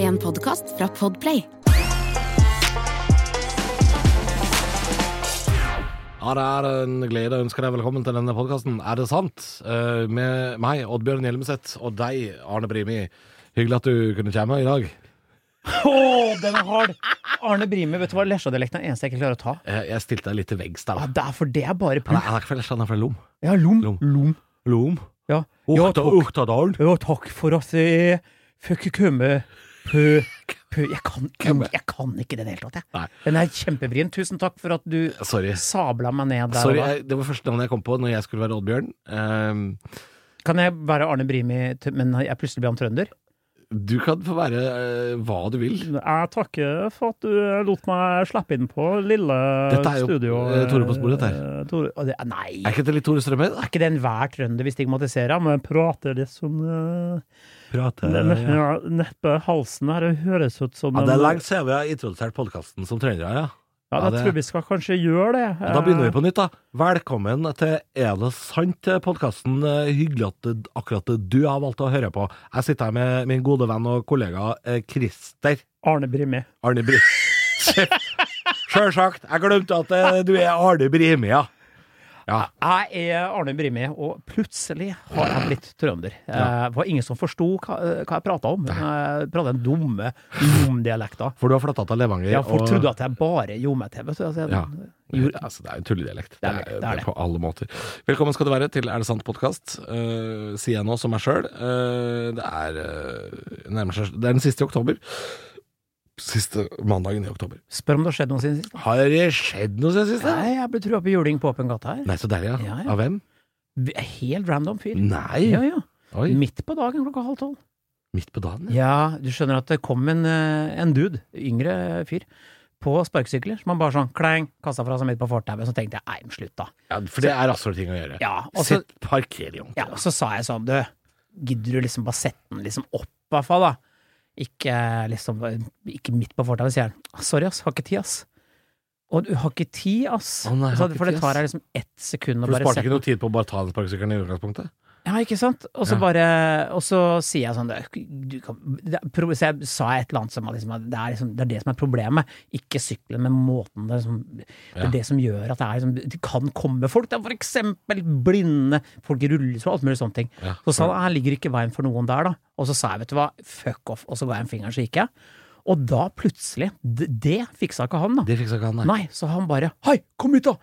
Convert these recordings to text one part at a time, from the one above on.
en podkast fra Podplay. Ja, det er en glede å ønske deg velkommen til denne podkasten. Er det sant? Eh, Med meg, Oddbjørn Hjelmeset, og deg, Arne Brimi. Hyggelig at du kunne komme i dag. Åh, den er hard! Arne Brimi, vet du hva? Lesja-dialekten er den eneste jeg ikke klarer å ta. Eh, Jeg stilte deg litt til veggs der. Ja, da. det er for det er bare Nei, pull. jeg er ikke fra Lesja, jeg er fra Lom. Ja, lom. Lom. Lom. Ah, Lom? Ja. Ja, Orta- takk. Ortadalen? ja, takk for at jeg fikk komme. Pø. Pø. Jeg kan, jeg kan ikke den i det hele tatt, Nei. jeg. Den er kjempevrien. Tusen takk for at du Sorry. sabla meg ned der. Sorry, og da. jeg, Det var første navnet jeg kom på når jeg skulle være Oddbjørn. Ehm, Kan jeg være Arne Brimi, til- men jeg plutselig ble han trønder? Du kan få være eh, hva du vil. Jeg takker for at du lot meg slippe inn på lille Dette er jo, studio, eh, Tore på sporet, dette Nei. Er ikke det litt Tore Strømøy? da? Er ikke det enhver trønder vi stigmatiserer, men prater litt som eh, Prate, ne- ja, Neppe halsen her det høres ut som Ja, det er en- lenge siden vi har introdusert podkasten som trøndere, ja. Ja, Ja, jeg det- tror vi skal kanskje gjøre det. Ja, Da begynner vi Eh. på nytt, da. Velkommen til Er det sant?-podkasten. Eh, Hyggelig at det, akkurat det du har valgt å høre på. Jeg sitter her med min gode venn og kollega eh, Christer Eh, Arne Brimi. Arne Brim. Sjølsagt. Jeg glemte at eh, du er Arne Brimi, ja. Ja. Jeg er Arne Brimi, og plutselig har jeg blitt trønder. Eh, Det var ingen som forsto hva, eh, hva jeg prata om. Eh, Jeg prata den dumme lomdialekta. For du har flytta til Levanger. Ja, folk trodde at jeg bare gjorde meg til, vet du. Altså, jeg, Ja. gjorde, Altså, det er en tulledialekt. Det er det, det er det. På alle måter. Velkommen skal du være til Er det sant-podkast. Uh, sier jeg nå som meg sjøl. det er eh, nærmer seg Det er den siste i oktober. Siste mandagen i oktober. spør om det har skjedd noe siden sist. Har det skjedd noe siden sist? da? Nei, jeg ble trua på juling på åpen gate her. Nei, så deilig, ja. Ja, ja. Av hvem? Helt random fyr. Nei! Ja, ja. Mm. Oi, Midt på dagen klokka halv tolv. midt på dagen. ja. Ja, du skjønner at det kom en, eh, en dude, yngre fyr, på sparkesykler, som han bare sånn klang, kasta fra seg midt på fortauet. Så tenkte jeg nei, men slutt, da. Ja, for det er rasshøle ting å gjøre. Ja, og så, Sett parkering. ja, og så sa jeg sånn, du, gidder du liksom bare sette den liksom opp, i hvert fall, da? Ikke eh, liksom Ikke midt på fortauet, sier han. Sorry, ass, har ikke tid, ass. Og du har ikke tid, ass. Å, nei, Så har ikke for det tid, tar ass. deg liksom ett sekund å For du bare sparte sette ikke noe tid på å bare ta den sparkesykkelen i utgangspunktet? Ja, ikke sant? Og så Ja. bare Og så sier jeg sånn det, du kan, det, pro- så jeg Sa jeg et eller annet som at liksom, at det, er liksom, det er det som er problemet, ikke sykkelen, men måten det, er liksom, det Ja. er det som gjør at det er liksom, Det kan komme folk. Det er for eksempel blinde, folk i rullestol, alt mulig sånne ting. Ja. Så sa han her ligger ikke veien for noen der, da. Og så sa jeg vet du hva, fuck off, og så ga jeg en finger, så gikk jeg. Og da plutselig Det, det fiksa ikke han, da. Det fiksa ikke han, nei. Nei, så han bare hei, kom hit da!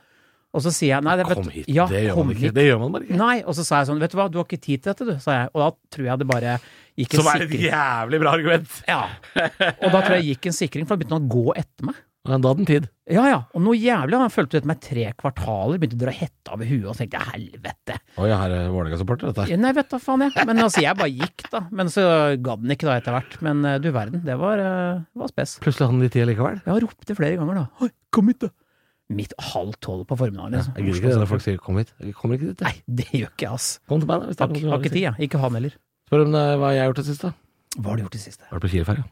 Og så sier jeg nei, det, vet, Kom hit. Ja, det gjør kom man ikke. hit. Det gjør man bare ikke. Nei, og så sa jeg sånn, vet du hva, du har ikke tid til dette, du, sa jeg. Og da tror jeg det bare gikk en Som er et sikring. jævlig bra argument. Ja. Og da tror jeg gikk en sikring, for da begynte han å gå etter meg. Men da hadde den tid. Ja, ja. Og noe jævlig. Han fulgte etter meg tre kvartaler, begynte å dra hetta over huet, og så tenkte jeg helvete. Oi, jeg er Vålerenga-supporter, dette. Nei, vet da faen, jeg. Men altså, jeg bare gikk, da. Men så gadd den ikke da etter hvert. Men eh, du verden, det var, eh, det var spes. Plutselig hadde han litt tid likevel. Jeg har ropt det flere ganger, da. Oi, kom hit, da. Midt halv tolv på formiddagen. liksom. Jeg gidder ikke det når folk sier 'kom hit'. Jeg kommer ikke dit. jeg. Nei, det gjør ikke jeg, ass. Kom til meg, da. Hvis det er Har noe du ikke- har har ikke å si. tid, jeg. Ikke han heller. Spør om det, hva jeg har gjort det siste. da. Hva har du gjort i det siste? Jeg har vært på Kielferja.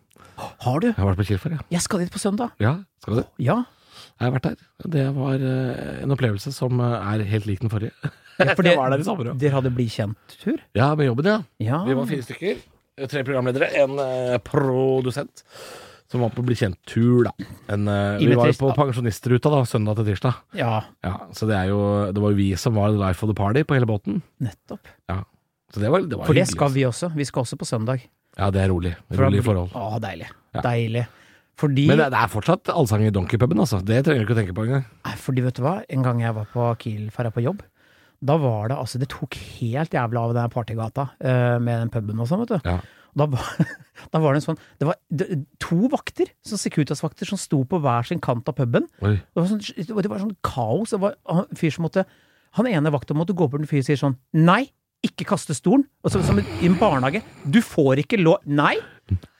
Har du? Jeg har vært på Kielferja. Jeg skal dit på søndag. Ja, skal du se. Ja. Jeg har vært der. Det var eh, en opplevelse som eh, er helt lik den forrige. Ja, for det, var der i sommer òg. dere hadde bli kjent-tur? Ja, med jobben, ja. Ja. Vi var fire stykker. Tre programledere, en eh, produsent. Som var på Bli kjent-tur, da. En, eh, vi Med var jo tirsdag. på pensjonistruta da, søndag til tirsdag. ja, Ja, så det, er jo, det var jo vi som var the life of the party på hele båten. nettopp. Så det var, det var For det hyggelig, skal vi også. Vi skal også på søndag. altså. Ja, det er rolig. For da Rolige blir- forhold. Å, deilig. Ja. Deilig. Fordi, Men det, det er fortsatt allsang i donkeypuben, altså. Det trenger du ikke å tenke på engang. Nei, fordi, vet du hva, en gang jeg var på Kielferja på jobb, da var det altså Det tok helt jævla av den her partygata eh, med den puben og sånn, vet du. Ja. Da var, da var det en sånn Det var d- to vakter, sånn Securitas-vakter, som sto på hver sin kant av puben. Oi. Det var sånn, det var- det var sånn kaos. Det var han- en fyr som måtte Han ene vakta måtte gå bort til en fyr og sier sånn Nei, ikke kaste stolen! Og så, som i en barnehage. Du får ikke lov Nei!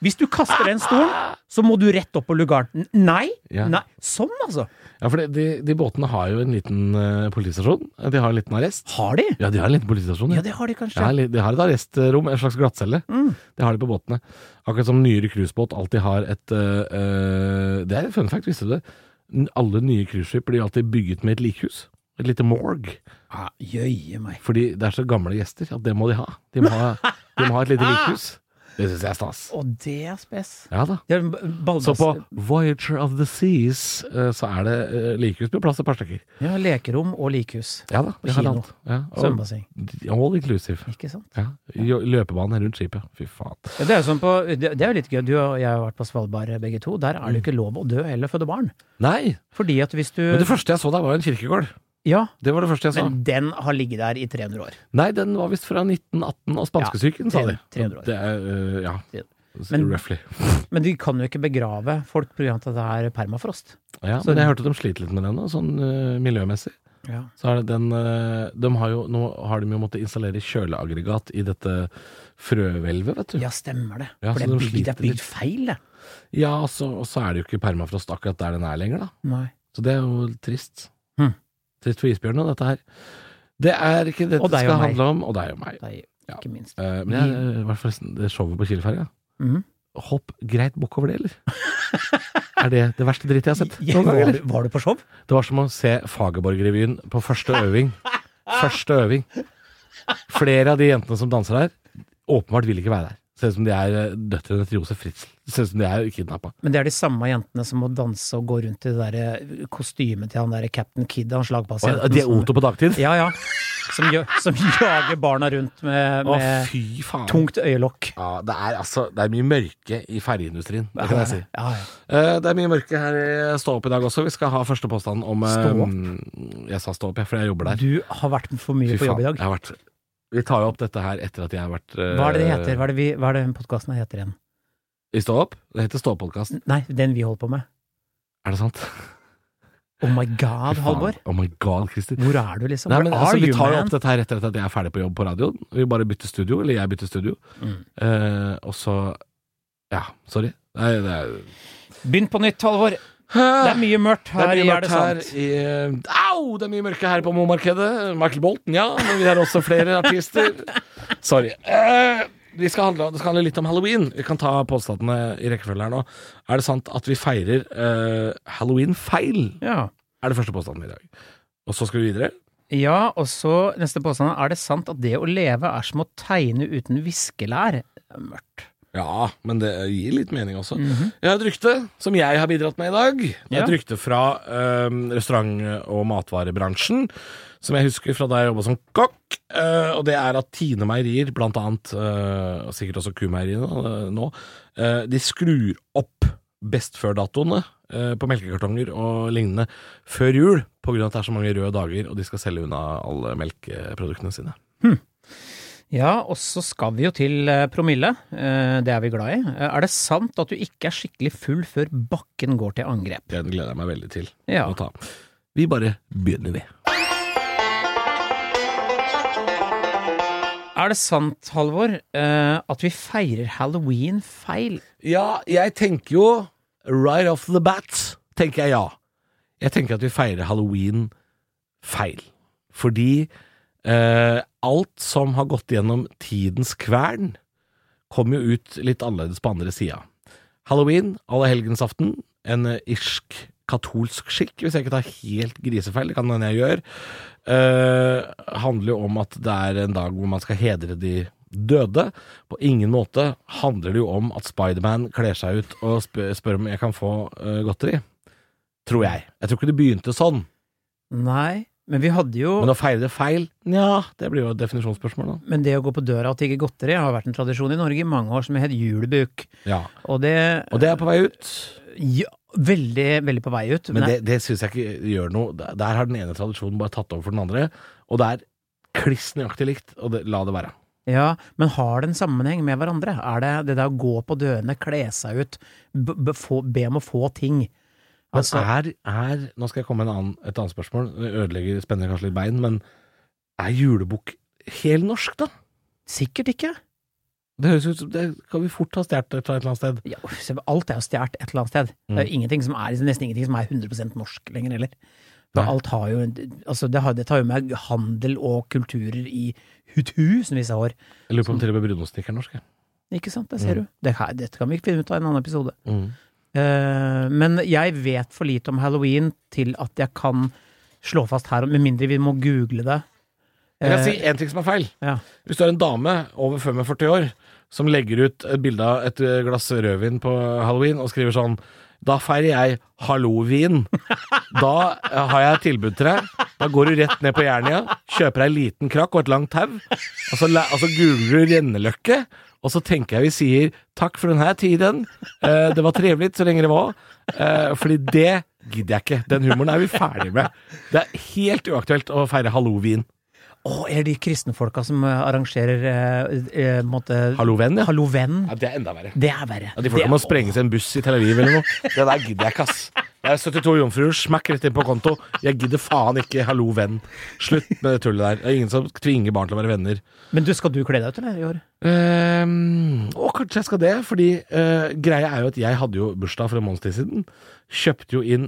Hvis du kaster den stolen, så må du rett opp på lugaren. N- Nei! Ja. Nei! Sånn, altså! Ja, for det, de, de båtene har jo en liten eh, politistasjon. De har en liten arrest. Har de? Ja, de har en liten politistasjon. Ja, Mm. det har de kanskje. Ja, de har et arrestrom, en slags glattcelle. Det har de på båtene. Akkurat som nyere cruisebåt alltid har et øh, øh, Det er et fun fact, visste du det? N- Alle nye cruiseskip blir alltid bygget med et likhus. Et lite morg. Ja, Jøye meg. Fordi det er så gamle gjester at det må de ha. De må ha, de må ha et lite likhus. Det syns jeg er stas. Og det er spes. Ja da. Det er en b- ballbass. Så på Voyager of the Seas eh, så er det eh, likhus med plass til et par stykker. Ja, lekerom og likhus. Ja da. vi har kino. alt. Ja, og Svømmebasseng. all inclusive. Ikke sant? Ja. jo- Løpebane rundt skipet. Fy faen. Ja, det, er jo sånn på, det det er jo litt gøy. Du og jeg har vært på Svalbard begge to. Der er det jo ikke lov å dø eller føde barn. Nei! Fordi at hvis du Men det første jeg så der, var en kirkegård. Ja, Det var det første jeg så. Eh. men den har ligget der i 300 år. Nei, den var visst fra 1918 og spanskesyken, sa de. 300 år. Det er, øh, ja. Men- Roughly. Men de kan jo ikke begrave folk pga. at det er permafrost. Ja, så- men jeg hørte at de sliter litt med det nå, sånn øh, miljømessig. Ja. Så er det den øh, de har jo, Nå har de jo måttet installere kjøleaggregat i dette frøhvelvet, vet du. Ja, stemmer det. Ja, For så det er de bygd, det sliter er bygd litt. feil, det. og, så, og så er det jo ikke permafrost akkurat der den er lenger, da. Nei. Så det er jo trist. Hm. Trist for isbjørnen, dette her. Det er ikke dette Og det deg og skal meg. handle om, og deg og meg. Det er, Ja. ikke minst. Eh, men jeg, øh, hva er forresten det showet på Kilferga. Mhm. Hopp greit bukk over det, eller? er det det verste drittet jeg har sett? Ja, noen gang, var, eller? du- var du på show? Det var som å se Fagerborg-revyen på første øving. Første øving. Flere av de jentene som danser der, åpenbart vil ikke være der. Ser ut som de er eh, døtrene til Josef Fritzl. Ser ut som de er kidnappa. Men det er de samme jentene som må danse og gå rundt i det der eh, kostymet til han derre Captain Kid, han slagpasienten. De er som- Otto på dagtid? Ja, ja. Som, gjør, som jager barna rundt med, Å, med fy faen. tungt øyelokk. Ja, det er altså Det er mye mørke i ferjeindustrien, det kan jeg si. Ja, ja. Eh, Det er mye mørke her i Stå opp i dag også. Vi skal ha første påstand om eh, Stå Jeg sa stå opp, jeg, for jeg jobber der. Du har vært for mye Fy på jobb i faen, dag. Jeg har vært, vi tar jo opp dette her etter at jeg har vært eh, Hva er det det heter? Hva er det, vi, hva er det podkasten heter igjen? I Stå opp? Det heter Stå-podkast. N- Nei, den vi holder på med. Er det sant? Oh my Fy god, faen. Halvor. Oh my god, Christer. Hvor er du, liksom? Nei, men, Where altså, are vi you, tar jo man? opp dette her etter at jeg er ferdig på jobb på radioen. Vi bare bytter studio, eller jeg bytter studio. Mm. Eh, og så Ja, sorry. Nei, det er Begynn på nytt, Halvor. Det er mye mørkt Det her. er mye i Er mørkt det her sant? i Au! Det er mye mørke her på Mo-markedet. Michael Bolton, ja. Men vi har også flere artister. Sorry. Eh, vi skal handle, det skal handle litt om halloween. Vi kan ta påstandene i rekkefølge her nå. Er det sant at vi feirer eh, halloween feil? Ja. Er det første påstanden i dag. Og så skal vi videre. ja, og så neste påstand. Er det sant at det å leve er som å tegne uten viskelær? Det er Mørkt. Ja, men det gir litt mening også. Mhm. Jeg har et rykte som jeg har bidratt med i dag. Det er et Ja. rykte fra eh, restaurant- og matvarebransjen, som jeg husker fra da jeg jobba som kokk. Eh, og det er at Tine Meierier, blant annet, eh, og sikkert også Kumeieriene eh, nå, eh, de skrur opp best før-datoene eh, på melkekartonger og lignende før jul, pga. at det er så mange røde dager, og de skal selge unna alle melkeproduktene sine. Ja, og så skal vi jo til eh, promille. Eh, Det er vi glad i. Eh, Er det sant at du ikke er skikkelig full før bakken går til angrep? Den gleder jeg meg veldig til Ja. å ta. Vi bare begynner, vi. Er det sant, Halvor, eh, at vi feirer halloween feil? Ja, jeg tenker jo Right off the bat tenker jeg ja. Jeg tenker at vi feirer halloween feil. Fordi eh, alt som har gått gjennom tidens kvern, kom jo ut litt annerledes på andre sida. Halloween, allehelgensaften, en eh, irsk katolsk skikk, hvis jeg ikke tar helt grisefeil, det kan hende jeg gjør, eh, handler jo om at det er en dag hvor man skal hedre de døde. På ingen måte handler det jo om at Spiderman kler seg ut og spør, spør om jeg kan få eh, godteri. Tror jeg. Jeg tror ikke det begynte sånn, Nei, men vi hadde jo men å feire det feil, nja, det blir jo et definisjonsspørsmål, da. Men det å gå på døra og tigge godteri har vært en tradisjon i Norge i mange år som het julebuk. Ja. Og det Og det er på vei ut. ja, Veldig, veldig på vei ut. Men Nei, det, det syns jeg ikke gjør noe. Der- Der har den ene tradisjonen bare tatt over for den andre, og det er kliss nøyaktig likt, og det, la det være. Ja, men har det en sammenheng med hverandre? Er det det der å gå på dørene, kle seg ut, b b få, be om å få ting? Men Altså, er, er Nå skal jeg komme med en annen, et annet spørsmål. Det ødelegger spenner kanskje litt bein, men er julebukk helnorsk, da? sikkert ikke. Det høres ut som Det kan vi fort ha stjålet fra et eller annet sted. Ja, uff, se, alt er jo stjålet et eller annet sted. Det Mm. er jo ingenting som er, nesten ingenting som er 100 norsk lenger heller. For Nei. alt har jo, altså det, har, det tar jo med handel og kulturer i hut- tusenvis av år. Jeg lurer på om til og med brunostsnikker er norsk. jeg. Ikke sant, det ser du. Det her, dette kan vi finne ut av i en annen episode. Mm. Eh, men jeg vet for lite om halloween til at jeg kan slå fast her, med mindre vi må google det. Jeg kan Eh, si én ting som er feil. ja. Hvis du er en dame over 45 år, som legger ut et bilde av et eh, glass rødvin på halloween og skriver sånn Da feirer jeg hallovin. Da eh, har jeg et tilbud til deg. Da går du rett ned på Jernia, kjøper deg en liten krakk og et langt tau, og så, la- og så googler du Renneløkke. Og så tenker jeg vi sier takk for denne tiden, eh, det var trevelig så lenge det var. Eh, fordi det gidder jeg ikke. Den humoren er vi ferdig med. Det er helt uaktuelt å feire hallovin. Å, er det de kristne folka som eh, arrangerer eh, eh, på en måte, Hallovenn, ja. Hallovenn? ja. Det er enda verre. Det er verre. Ja, de folka Det- må sprenge seg en buss i Tel Aviv eller noe. Det der gidder jeg ikke, ass. Det er 72 jomfruer, smakk rett inn på konto. Jeg gidder faen ikke, hallo venn. Slutt med det tullet der. Det er ingen som tvinger barn til å være venner. Men du, skal du kle deg ut, eller? I år? Ehm, og kanskje jeg skal det, fordi eh, greia er jo at jeg hadde jo bursdag for en måneds tid siden. Kjøpte jo inn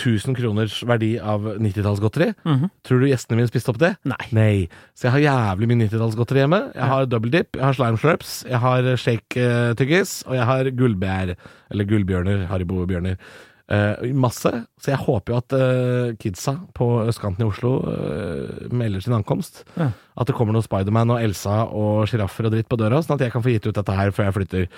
1000 kroners verdi av 90-tallsgodteri. Mhm. Tror du gjestene mine spiste opp det? Nei. Nei. Så jeg har jævlig mye 90-tallsgodteri hjemme. Jeg har double dip, jeg har slime slurps, jeg har eh, shake-tyggis, og jeg har gullbær. Eller gullbjørner. Haribo-bjørner. Eh, masse. Så jeg håper jo at eh, kidsa på østkanten i Oslo eh, melder sin ankomst. Ja. At det kommer noen Spiderman og Elsa og sjiraffer og dritt på døra, sånn at jeg kan få gitt ut dette her før jeg flytter.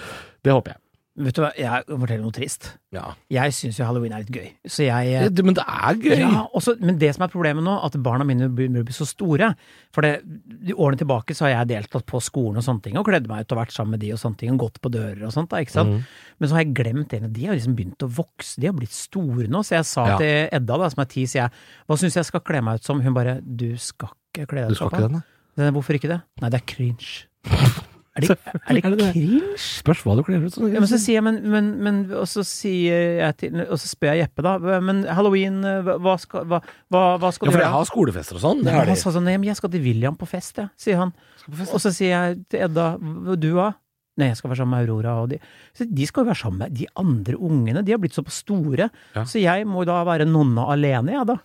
Det håper jeg. Vet du hva, jeg må fortelle noe trist. Ja. Jeg syns jo halloween er litt gøy, så jeg eh, Det, men det er gøy! Ja, også, men det som er problemet nå, at barna mine begynner å bli så store. For det, de årene tilbake så har jeg deltatt på skolen og sånne ting, og kledde meg ut og vært sammen med de og sånne ting, og gått på dører og sånt. da, ikke Mm. sant? Men så har jeg glemt en av de, har liksom begynt å vokse, de har blitt store nå. Så jeg sa Ja. til Edda, da, som er ti, sier jeg, hva syns jeg skal kle meg ut som? Hun bare, du skal ikke kle Du deg ut skal som ikke den, da? Hvorfor ikke det? Nei, det er cringe. Er det, er Er det det det? cringe? Spørs hva du kler ut som. Ja, men så sier jeg, men, men, men og, så sier jeg til, og så spør jeg Jeppe, da. Men halloween, eh, hva skal, hva, hva, hva skal Ja, du for jeg gjøre? har skolefester og sånn. Det Nei, har men de. han sa sånn, nei, men jeg skal til William på fest, jeg, sier han. Og så sier jeg til Edda, «Hva- du da? Nei, jeg skal være sammen med Aurora og de. Så de skal jo være sammen med de andre ungene, de har blitt såpass store. Ja. Så jeg må jo da være nonna alene, jeg da.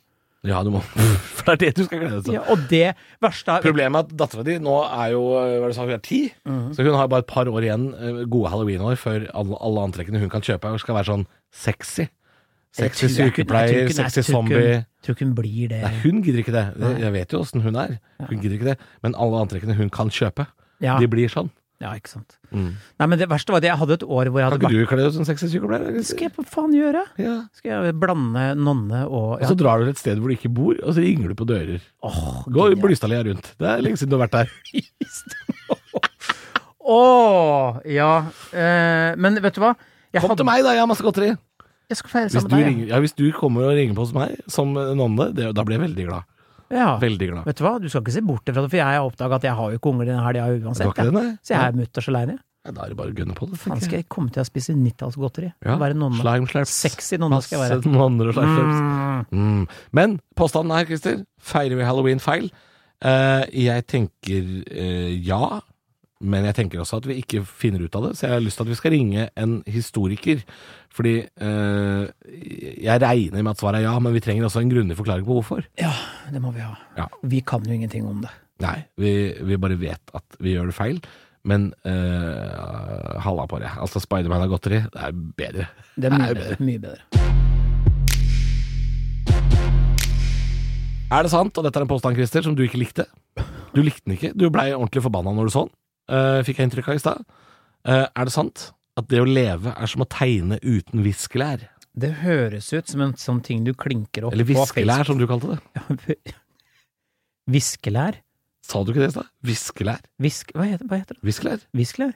Ja, du må. For det er det du skal glede deg til. Ja, og det verste er Problemet er at dattera di nå er jo eh, hva er det du sa, hun er ti, Mhm. så hun har bare et par år igjen, eh, gode halloweenår, før alle, alle antrekkene hun kan kjøpe, skal være sånn sexy. Jeg Sexy tror ikke- jeg tror ikke- sykepleier, jeg sexy tror ikke hun- zombie. Jeg tror ikke hun blir det. Nei, hun gidder ikke det. Det- Jeg vet jo åssen hun er. Hun gidder ikke det. Men alle antrekkene hun kan kjøpe, Ja, de blir sånn. ja, ikke sant. Mm. Nei, men det verste var det, jeg hadde et år hvor jeg Kan hadde ikke vært du kle deg ut som sexy sykepleier? eller? Skal jeg på faen gjøre? Ja. Skal jeg blande nonne og Og ja. så drar du til et sted hvor du ikke bor, og så ringer du på dører. Åh, Gå i genialt. Blystadlia rundt. Det er lenge siden du har vært der. Åh, ja. Eh, men vet du hva? Jeg Kom hadde- til meg, da. Jeg har masse godteri. Jeg skal feire Hvis sammen du, med deg. ringer, ja, hvis du kommer og ringer på hos meg som nonne, det, da blir jeg veldig glad. Ja. Veldig glad. Vet du hva, du skal ikke se bort fra det, for jeg har oppdaga at jeg har jo ikke unger denne helga Det uansett. var ikke det, nei? jeg. Så jeg er mutters aleine. Nei, Da er det bare å gunne på det. Faen, skal jeg komme til å spise 90-tallsgodteri? Ja, Ja. Være nonne. Slime slaps. Sexy nonne skal jeg være. Masse nonner og slime slaps. Mm. Mm. Men påstanden her, Christer, feirer vi halloween feil? Eh, jeg tenker eh, ja, men jeg tenker også at vi ikke finner ut av det. Så jeg har lyst til at vi skal ringe en historiker. Fordi eh, jeg regner med at svaret er ja, men vi trenger også en grundig forklaring på hvorfor. Ja, det må vi ha. Ja. Vi kan jo ingenting om det. Nei, vi, vi bare vet at vi gjør det feil. Men eh, halla på det. Altså, Spiderman har godteri. Det er bedre. Det er mye Nei, bedre. Mye bedre. Er det sant? Og dette er en påstand, Christer, som du ikke likte. Du likte den ikke. Du blei ordentlig forbanna når du så den, eh, fikk jeg inntrykk av i stad. Eh, er det sant at det å leve er som å tegne uten viskelær? Det høres ut som en sånn ting du klinker opp Eller viskelær, som du kalte det. Facebook. Viskelær? Sa du ikke det i stad? Viskelær. Visk... Hva heter, hva heter det? Viskelær. Viskelær?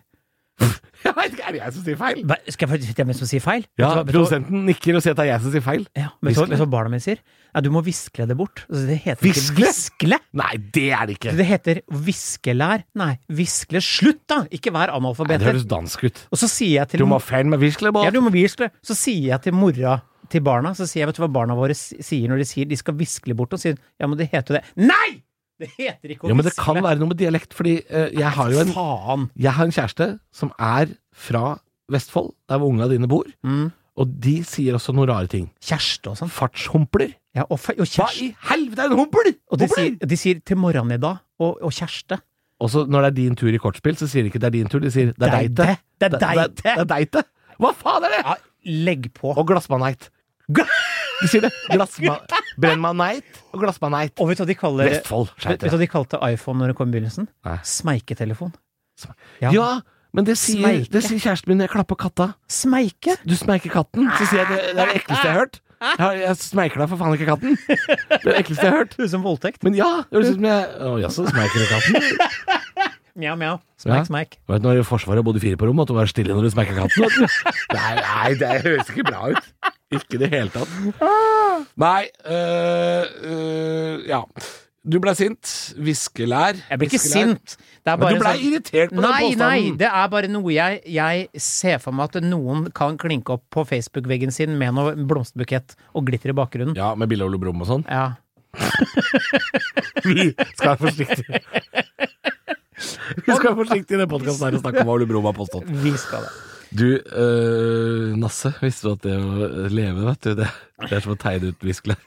Jeg vet ikke, er det jeg som sier feil? Hva- Skal jeg fortelle hvem som sier feil? Ja, Vet du hva- vet du hva- Produsenten nikker og sier at det er jeg som sier feil. Ja, men så, Viskle? så barna mine sier Nei, du må viskle det bort. Altså, det heter Viskle? ikke viskle. Nei, det er det ikke. Det heter viskelær. Nei, viskle. Slutt, da! Ikke Nei, vær det analfabeter. høres dansk ut. Og så sier jeg til Du må ha feil med viskelær. ja, du må viskle. Så sier jeg til mora til barna, så sier jeg, vet du hva barna våre s- sier når de sier de skal viskle bort, og sier ja, men det heter jo det. Nei! Det heter ikke å Ja, men det viskle. kan være noe med dialekt, fordi eh, jeg har jo en Faen! Jeg har en kjæreste som er fra Vestfold, der hvor unga dine bor, Mm. og de sier også noen rare ting. Kjæreste og sånn. Fartshumpler. Ja, og, fe- og Hva i kjæreste. helvete er en humpel?! Og de Humpler! sier, de sier til morgenen i dag, og, og kjæreste. Og så når det er din tur i kortspill, så sier de ikke det er din tur, de sier det er deite. Det er Det er- det deite! er deite. Hva faen er det?! Ja, legg på. Og glassmaneit. De sier det. Glassma Brennmaneit og glassmaneit. Og vet du hva de kaller Vestfold, Vet skjøt vet du jeg. hva de kalte iPhone når det kom i begynnelsen? Nei. Smeiketelefon. Ja, Men det sier, Smeike. det sier kjæresten min når jeg klapper katta. Smeike? Du smeiker katten. Så sier jeg det, det er det ekleste jeg har hørt. Jeg, har- jeg smeiker deg for faen ikke katten. Det er det ekleste jeg har hørt. Det høres ut som voldtekt. Men ja, det høres ut som jeg Å jaså, smeiker du katten? Mjau, mjau. Ja. Smeik, smeik. Vet du, når Forsvaret bodde fire på rom, måtte du være stille når du smeika katten. vet du. Nei, nei, det høres ikke bra ut. Ikke i det hele tatt. Nei øh, øh, Ja. Du blei sint. Viskelær. Jeg blir ikke Viskelær. sint. Det er Men bare du blei sånn- irritert på Nei, den nei, påstanden. det er bare noe jeg, jeg ser for meg at noen kan klinke opp på Facebook-veggen sin med noe blomsterbukett og glitter i bakgrunnen. Ja, med bilde av Ole Brumm og sånn. Ja. Vi skal være forsiktige. Vi skal være forsiktige i den podkasten her og snakke om hva Ole Brumm har påstått. Vi skal det. Du, øh, Nasse, visste du at det å leve, vet du, det, det er som å tegne ut viskelær.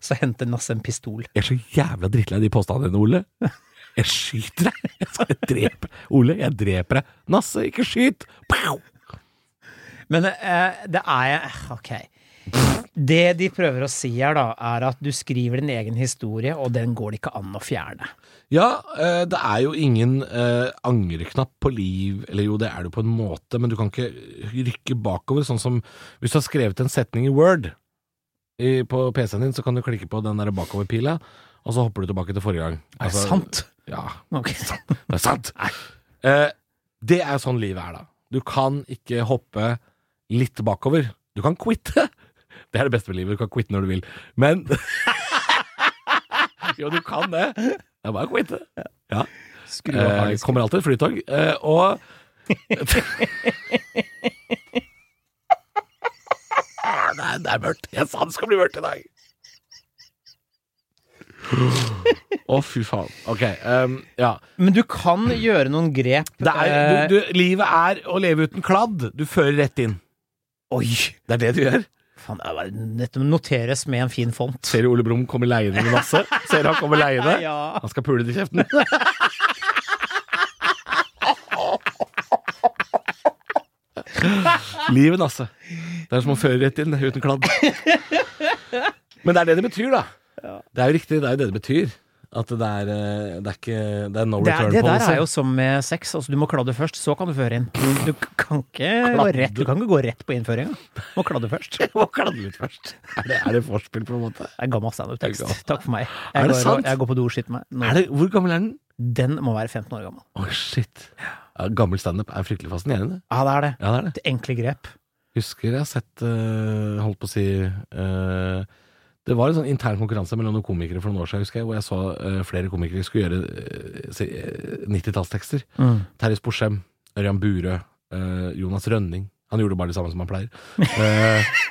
Så henter Nasse en pistol. Jeg er så jævla drittlei av de påstandene dine, Ole. Jeg skyter deg. Jeg skal drepe Ole, jeg dreper deg. Nasse, ikke skyt! Pow! Men eh, det er jeg Ok. Det de prøver å si her, da, er at du skriver din egen historie, og den går det ikke an å fjerne. Ja, eh, det er jo ingen eh, angreknapp på liv, eller jo, det er det på en måte, men du kan ikke rykke bakover, sånn som hvis du har skrevet en setning i Word i, på PC-en din, så kan du klikke på den der bakoverpila, og så hopper du tilbake til forrige gang. Er det Altså, sant? Ja, Ok. det er sant. Eh, det er jo sånn livet er, da. Du kan ikke hoppe litt bakover. Du kan quitte. Det er det beste med livet. Du kan quitte når du vil. Men Jo, du kan det. Det er bare å quitte. Ja. Skru av Eh, hagen. kommer alltid et flytog. Eh, og Ah, Nei, det er mørkt. Jeg sa det skulle bli mørkt i dag. Å, fy faen. Ok. Um, ja. Men du kan gjøre noen grep. eh, Det er, du, du, livet er å leve uten kladd. Du fører rett inn. Oi! Det er det du gjør. Faen, det er- dette noteres med en fin font. Ser du Ole Brumm kommer leiende med masse? Ser du han kommer leiende? Ja. Han skal pule det i kjeften. Livet, Nasse. altså. Det er som å føre rett inn uten kladd. Men det er det det betyr, da. Det er jo riktig, det er jo det det betyr. At det er, eh, det er ikke Det er no Det, er, return det der policy. er jo som med sex. Altså, du må kladde først, så kan du føre inn. Du kan ikke, gå Kladde. rett, du kan ikke gå rett på innføringa. Må kladde først. Det Må kladde litt først. Er det, er det forspill, på en måte? er gammel standup-tekst. Det er gammel. Takk for meg. Er Jeg det går, sant? jeg går på do og skyter meg. Nå. Er det, hvor gammel er den? Den må være 15 år gammel. Å, shit. Ja, gammel standup er fryktelig fascinerende. Ja, det er det. Ja, det er det. Det er Enkle grep. Husker jeg har sett eh, Holdt på å si eh, Det var en sånn intern konkurranse mellom noen komikere for noen år siden, husker jeg, hvor jeg så eh, flere komikere skulle gjøre eh, si- eh, 90-tallstekster. Terje Sporsem, Ørjan Burøe, eh, Jonas Rønning. Han gjorde bare det samme som han pleier. Eh,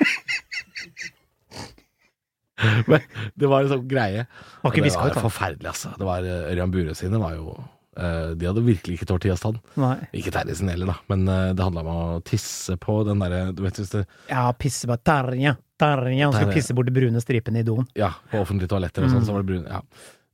men det var en sånn greie. Var ikke det viska var ut, da. forferdelig, altså. Det var eh, Ørjan Burøe sine var jo eh, De hadde virkelig ikke tåltidsstand. Nei. Ikke Terje sin heller, da, men eh, det handla om å tisse på den derre Du vet hvis det Ja, pisse bare Terje. Terje. Han Terje. skulle pisse bort de brune stripene i doen. Ja, på offentlige toaletter og sånn, så var det brun ja.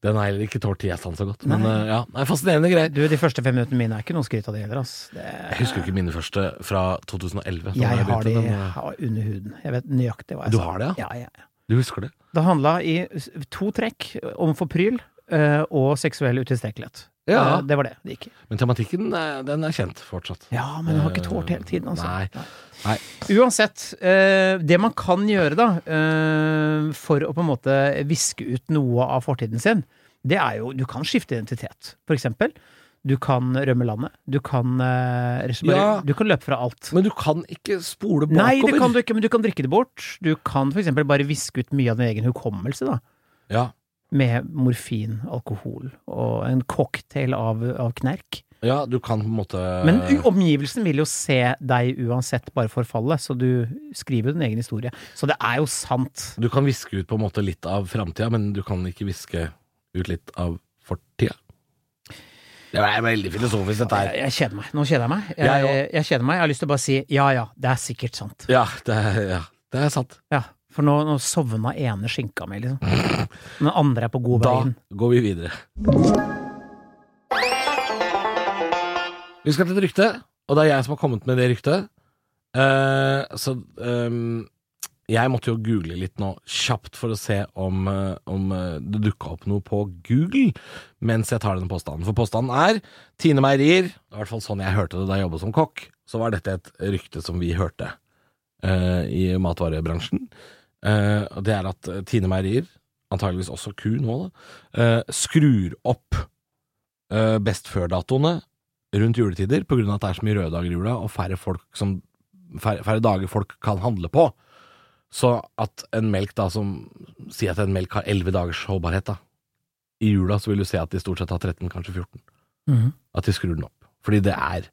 Den har heller ikke tålt tiastand så godt, men eh, ja, det er fascinerende greier. Du, de første fem minuttene mine er ikke noe skryt av det heller, ass. Det, Jeg husker jo ikke mine første fra 2011. da jeg jeg har de begynte, men, eh, har under huden. Jeg vet nøyaktig hva jeg Du sa. har det, ja? ja, ja. Du husker det? Det handla i s- to trekk om forpryl eh, og seksuell utilstrekkelighet. Ja. Eh, Det var det det gikk i. Men tematikken, eh, den er kjent fortsatt. Ja, men jeg har ikke tålt hele tiden, altså. Nei. Nei. Uansett, eh, det man kan gjøre da, eh, for å på en måte viske ut noe av fortiden sin, det er jo Du kan skifte identitet, for eksempel. Du kan rømme landet. Du kan, eh, rett og slett bare, Ja. du kan løpe fra alt. Men du kan ikke spole bakover. Nei, det kan du ikke, men du kan drikke det bort. Du kan for eksempel bare viske ut mye av din egen hukommelse, da. Ja, med morfin, alkohol og en cocktail av, av knerk. ja du kan på en måte Men u- Eh. omgivelsen vil jo se deg uansett bare forfalle, så du skriver jo din egen historie. Så det er jo sant. Du kan viske ut på en måte litt av framtida, men du kan ikke viske ut litt av fortida. Det er veldig filosofisk, dette Jeg, her. jeg kjeder meg. Nå kjeder jeg meg. Jeg, Jeg jeg, òg. kjeder meg. Jeg har lyst til å bare si ja ja, det er sikkert sant. Ja, det er, ja, det er sant. Ja. For nå, nå sovna ene skinka mi, liksom. Men den andre er på god vei Da inn. går vi videre. Vi skal til et rykte, og det er jeg som har kommet med det ryktet. Eh, så ehm, Jeg måtte jo google litt nå, kjapt, for å se om, eh, om eh, det dukka opp noe på Google mens jeg tar denne påstanden. For påstanden er Tine Meierier, i hvert fall sånn jeg hørte det da jeg jobba som kokk, så var dette et rykte som vi hørte eh, i matvarebransjen. Eh, og det er at eh, Tine Meierier, antageligvis også ku nå, da, eh, skrur opp eh, best før-datoene rundt juletider pga. at det er så mye røde dager i jula og færre, folk som, færre, færre dager folk kan handle på. Så at en melk da som Si at en melk har 11 dagers holdbarhet da I jula så vil du se at de stort sett har 13, kanskje 14 Mhm. At de skrur den opp Fordi det er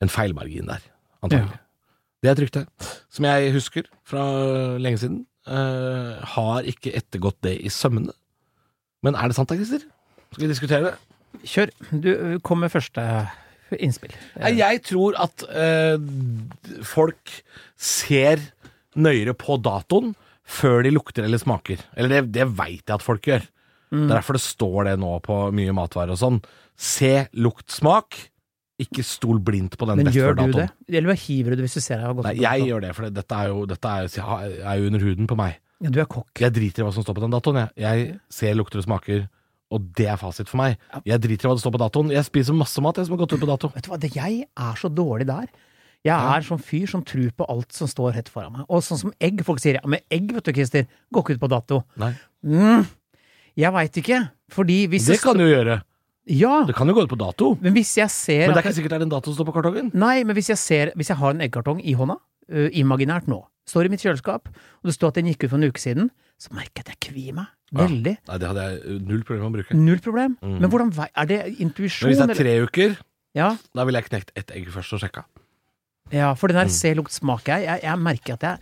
en feilmargin der Antagelig Det er et rykte Som jeg husker fra lenge siden eh, Har ikke ettergått det i sømmene Men er det sant da, Christer? Skal vi diskutere det? Kjør. Du ø, kom med første innspill. Nei, jeg tror at eh, d- folk ser nøyere på datoen før de lukter eller smaker. Eller det, det veit jeg at folk gjør. Det Mm. er derfor det står det nå på mye matvarer og sånn. Se, lukt, smak. Ikke stol blindt på den Men best gjør du før-datoen. det? Eller hva hiver du det hvis du ser deg har gått Nei, ut på jeg dato? gjør det, for dette er jo, dette er, jo, er jo under huden på meg. Ja, Du er kokk. Jeg driter i hva som står på den datoen. Jeg, jeg ser, lukter og smaker, og det er fasit for meg. Jeg driter i hva det står på datoen. Jeg spiser masse mat jeg, som har gått ut på dato. Vet du hva, det, jeg er så dårlig der. Jeg er sånn fyr som tror på alt som står rett foran meg. Og sånn som egg. Folk sier ja, men egg, vet du, Christer, går ikke ut på dato. Nei, Mm, jeg veit ikke. Fordi hvis det kan du jo gjøre. jeg, Ja, Det kan jo gå ut på dato. men hvis jeg ser Men det at- er ikke sikkert det er den datoen som står på kartongen. Nei, men hvis jeg, ser, hvis jeg har en eggkartong i hånda, ø, imaginært nå, står i mitt kjøleskap, og det står at den gikk ut for en uke siden, så merker jeg at jeg kvier meg. Ja. Veldig. Nei, det hadde jeg null problem med å bruke. Null problem. Ah, Mm. Men hvordan vei, er det intuisjon? Men hvis det er eller- tre uker, ja, da ville jeg knekt ett egg først og sjekka. ja, for den der se, lukt, smak jeg, jeg, jeg merker at jeg,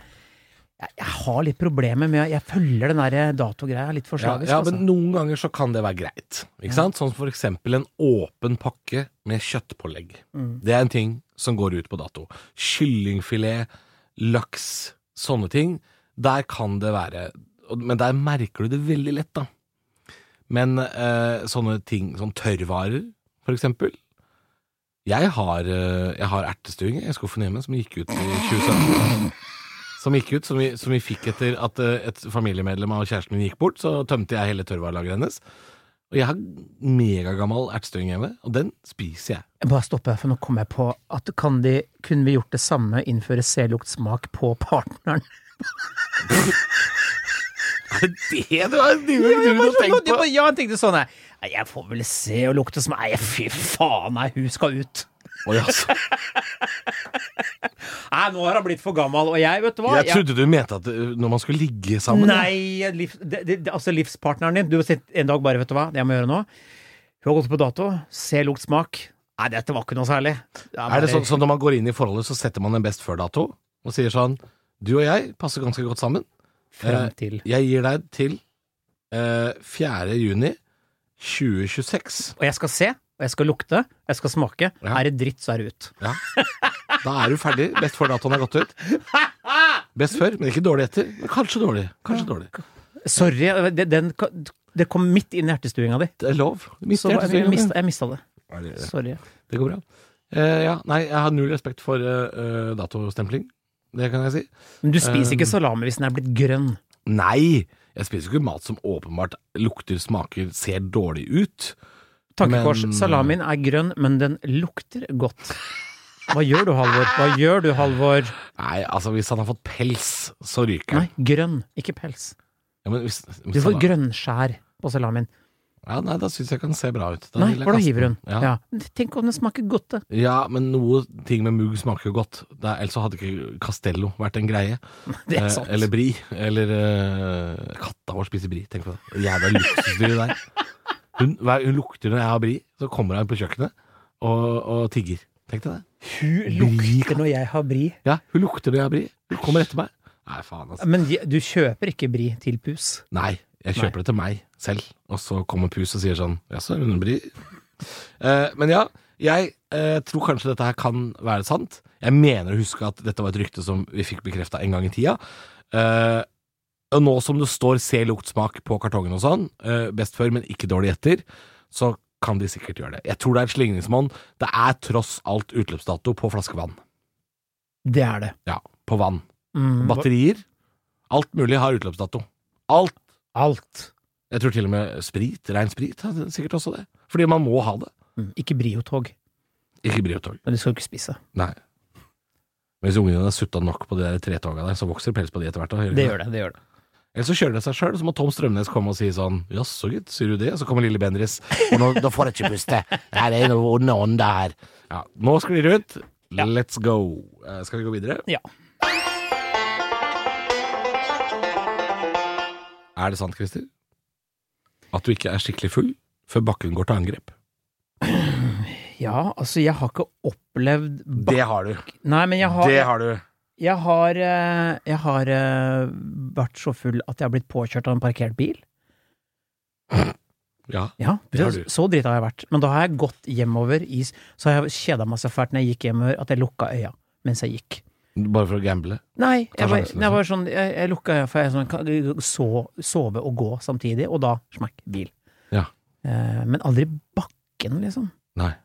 jeg, jeg har litt problemer med Jeg følger den der datogreia litt for Ja, slavisk. ja, altså. men noen ganger så kan det være greit. Ikke sant? Sånn som for eksempel en åpen pakke med kjøttpålegg. Mm. Det er en ting som går ut på dato. Kyllingfilet, laks, sånne ting. Der kan det være og- Men der merker du det veldig lett, da. Men eh, sånne ting som tørrvarer, for eksempel. Jeg har, eh, jeg har ertestuing i skuffen hjemme som gikk ut i 2017. Som gikk ut, som vi, som vi fikk etter at eh, et familiemedlem av kjæresten min gikk bort. Så tømte jeg hele tørrvarelageret hennes. Og jeg har megagammal ertestuing hjemme, og den spiser jeg. Jeg Bare stoppe, for nå kom jeg på at kan de, kunne vi gjort det samme, innføre se, lukt, smak på partneren? Er det det du har du Ja, har jeg bare tenkt sånn- på? ja, jeg tenkte sånn jeg. Nei, jeg får vel se og lukte som Nei, fy faen, nei, hun skal ut. Oi, altså. Nei, nå har hun blitt for gammel, og jeg, vet du hva Jeg trodde du mente at eh, når man skulle ligge sammen Nei, liv, det, det, altså livspartneren din. Du har sett en dag bare, vet du hva, det jeg må gjøre nå. Hun har gått på dato. Se, lukt, smak. Nei, dette var ikke noe særlig. Er det sånn, sånn når man går inn i forholdet, så setter man en best før-dato og sier sånn Du og jeg passer ganske godt sammen. Frem til Jeg gir deg til eh, 4. juni 2026. Og jeg skal se, og jeg skal lukte, og jeg skal smake. Ja. Er det dritt, så er det ut. Ja. Da er du ferdig. Best før-datoen er gått ut. Best før, men ikke dårlig etter. Men kanskje dårlig. Kanskje dårlig. Sorry, det, den, det kom midt inn i hjertestuinga di. Det er lov. Så Mister jeg hjertestyrken. mista, jeg mista det. Ja, det er det. Sorry. Det går bra. Eh, ja, nei, jeg har null respekt for eh, eh, datostempling. Det kan jeg si. Men du Um, spiser ikke salami hvis den er blitt grønn. Nei! Jeg spiser jo ikke mat som åpenbart lukter, smaker, ser dårlig ut. Tankekors. Men- Salamien er grønn, men den lukter godt. Hva gjør du, Halvor? Hva gjør du, Halvor? Nei, altså hvis han har fått pels, så ryker Nei, han. grønn, ikke pels. Ja, men hvis, hvis Du han får har- grønnskjær på salamien. ja, nei, da syns jeg ikke han ser bra ut. Da Nei, vil jeg for da kaste hiver hun. den. Ja. Ja. Tenk om den smaker godt, det. ja, men noe ting med mugg smaker jo godt. Det er, ellers så hadde ikke Castello vært en greie. Det Eh, er sant. Eller bri. Eller eh, katta vår spiser bri. Tenk på det. Jævla luksusdyr der. Hun, hver, hun lukter når jeg har bri, så kommer hun på kjøkkenet og, og tigger. Tenk deg det. Hun lukter når jeg har bri. Ja, hun lukter når jeg har bri. Hun kommer etter meg. Nei, faen, altså. Men je- du kjøper ikke bri til pus. Nei, jeg kjøper det til meg selv. Og så kommer Pus og sier sånn Jaså, hun bri? Eh, men ja, jeg eh, tror kanskje dette her kan være sant. Jeg mener å huske at dette var et rykte som vi fikk bekrefta en gang i tida. Eh, og nå som det står 'se lukt smak' på kartongen og sånn, eh, best før, men ikke dårlig etter, så kan de sikkert gjøre det. Jeg tror det er et slingringsmonn. Det er tross alt utløpsdato på flaskevann. Det er det. Ja, på vann. Mm. Batterier Alt mulig har utløpsdato. Alt. Alt. Jeg tror til og med sprit, rein sprit, har sikkert også det. Fordi man må ha det. Mm. Ikke Brio-tog, Ikke briotog. men du skal jo ikke spise. Nei. Men Hvis ungene har sutta nok på de der tretoga der, så vokser pels på de etter hvert. da. Det gjør det. det gjør det. Eller så kjører det seg sjøl, så må Tom Strømnes komme og si sånn Jaså, gitt, sier du det? Og så kommer lille Bendriss. Og nå, da får jeg ikke puste. Nei, det er noe onde ånde her. Ja, nå sklir det ut. Let's go. Eh, skal vi gå videre? Ja. Er det sant, Christer? At du ikke er skikkelig full før bakken går til angrep? ja, altså, jeg har ikke opplevd ba- Det har du. Nei, men jeg har Det har du. Jeg har, eh, jeg har eh, vært så full at jeg har blitt påkjørt av en parkert bil. Ja. Ja, Det har du. Så drita har jeg vært. Men da har jeg gått hjemover i s- Så har jeg kjeda meg så fælt når jeg gikk hjemover at jeg lukka øya mens jeg gikk. Bare for å gamble. Nei, Ta jeg var, sjansen, jeg var sånn Jeg, jeg lukka øya, for jeg sånn, kan- så, sove og gå samtidig, og da smakk bil. Ja. Eh, men aldri bakken, liksom. Nei.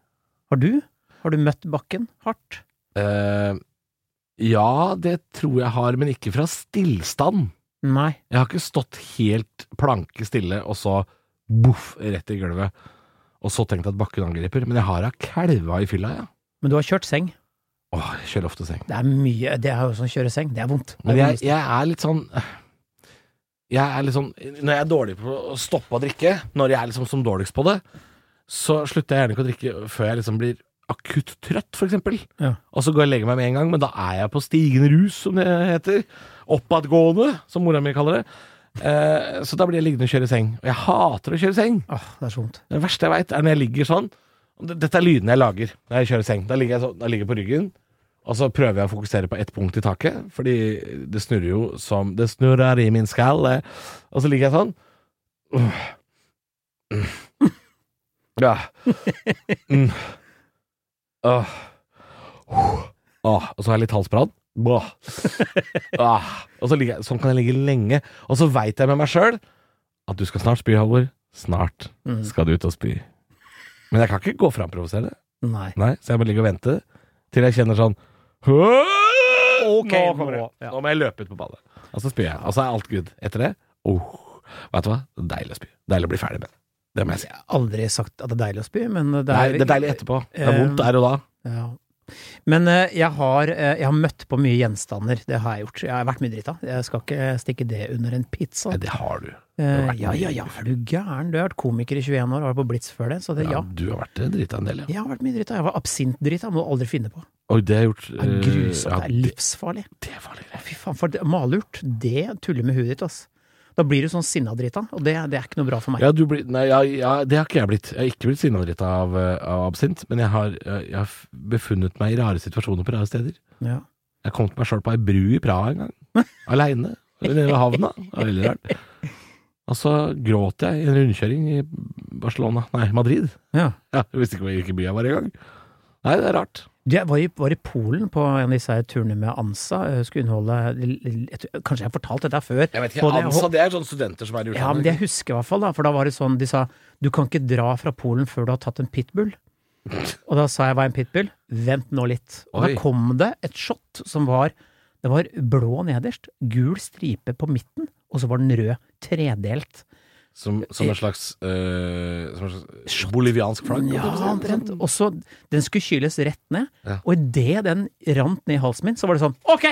Har du? Har du møtt bakken hardt? Eh, ja, det tror jeg har, men ikke fra stillstand. Nei. Jeg har ikke stått helt planke stille, og så boff, rett i gulvet. Og så tenkt at bakken angriper. Men jeg har da kalva i fylla, ja. Men du har kjørt seng. Åh, jeg kjører ofte seng. Det er mye Det er jo sånn kjøre seng. Det er vondt. Det er Men jeg, vondt. jeg er litt sånn Jeg er litt sånn Når jeg er dårlig på å stoppe å drikke, når jeg er liksom som dårligst på det, så slutter jeg gjerne ikke å drikke før jeg liksom blir akutt trøtt, for eksempel. Ja. Og så går jeg og legger meg med en gang, men da er jeg på stigende rus, som det heter. Oppadgående, som mora mi kaller det. Eh, så da blir jeg liggende og kjøre seng. Og jeg hater å kjøre seng. Åh, det er så vondt. Det verste jeg veit, er når jeg ligger sånn og d- Dette er lydene jeg lager når jeg kjører seng. Da ligger jeg, sånn, da ligger jeg på ryggen, og så prøver jeg å fokusere på ett punkt i taket, fordi det snurrer jo som Det snurrer i min skalle. Og så ligger jeg sånn. Ja. Mm. Åh. Åh. Og så har jeg litt halsbrann. Bå. Åh. Og så ligger jeg, sånn kan jeg ligge lenge. Og så veit jeg med meg sjøl at du skal snart spy, Halvor. Snart Mm. skal du ut og spy. Men jeg kan ikke gå fram og provosere. Nei. Nei, så jeg må ligge og vente til jeg kjenner sånn Ok, nå, kommer nå, jeg. ja. nå må jeg løpe ut på badet. Og så spyr jeg, og så er alt good. Etter det oh, Vet du hva? Deilig å spy. Deilig å bli ferdig med det. Det må jeg si. Jeg har aldri sagt at det er deilig å spy, men det er, Nei, det er deilig etterpå. Det er vondt der og da. Ja. Men eh, jeg har, eh, jeg har møtt på mye gjenstander, det har jeg gjort. Jeg har vært mye drita. Jeg skal ikke eh, stikke det under en pizza. Nei, det har du. Eh, vært ja, ja, mye ja, er du gæren? Du har vært komiker i 21 år og har vært på Blitz før det, så det, Ja, ja. du har vært drita en del, ja. Jeg har vært mye drita. Jeg var absintdrita, må du aldri finne på. Oi, det har jeg gjort. Det er grusomt, eh, det er ja, livsfarlig. det, det var litt Å, Fy faen, for det- malurt, det tuller med huet ditt, ass. Da blir du sånn sinna drita, og det, det er ikke noe bra for meg. Ja, du blir, nei, ja, ja, det har ikke jeg blitt. Jeg har ikke blitt sinnadritt av, eh, av absint, men jeg har, eh, jeg har f- befunnet meg i rare situasjoner på rare steder. Ja. Jeg kom til meg sjøl på ei bru i Praha en gang, aleine, nede ved havna. Det var veldig rart. Og så gråt jeg i en rundkjøring i Barcelona, nei, Madrid. Ja. Ja, jeg visste ikke hvor- hvilken by jeg var engang. Nei, det er rart. Jeg var i, var i Polen på en av disse her turene med ANSA. Jeg skulle underholde jeg tror- Kanskje jeg har fortalt dette her før? På det- det er sånne studenter som er i Ja, men det jeg husker i hvert fall, da, for da var det sånn de sa du kan ikke dra fra Polen før du har tatt en pitbull. Og da sa jeg hva er en pitbull? Vent nå litt. Og Oi. da kom det et shot som var Det var blå nederst, gul stripe på midten, og så var den rød. Tredelt. Som, som en slags, eh, som en slags boliviansk flagg? holdt jeg Ja, på å si. sånn omtrent. Og så Den skulle kyles rett ned, Ja. og idet den rant ned i halsen min, så var det sånn Ok!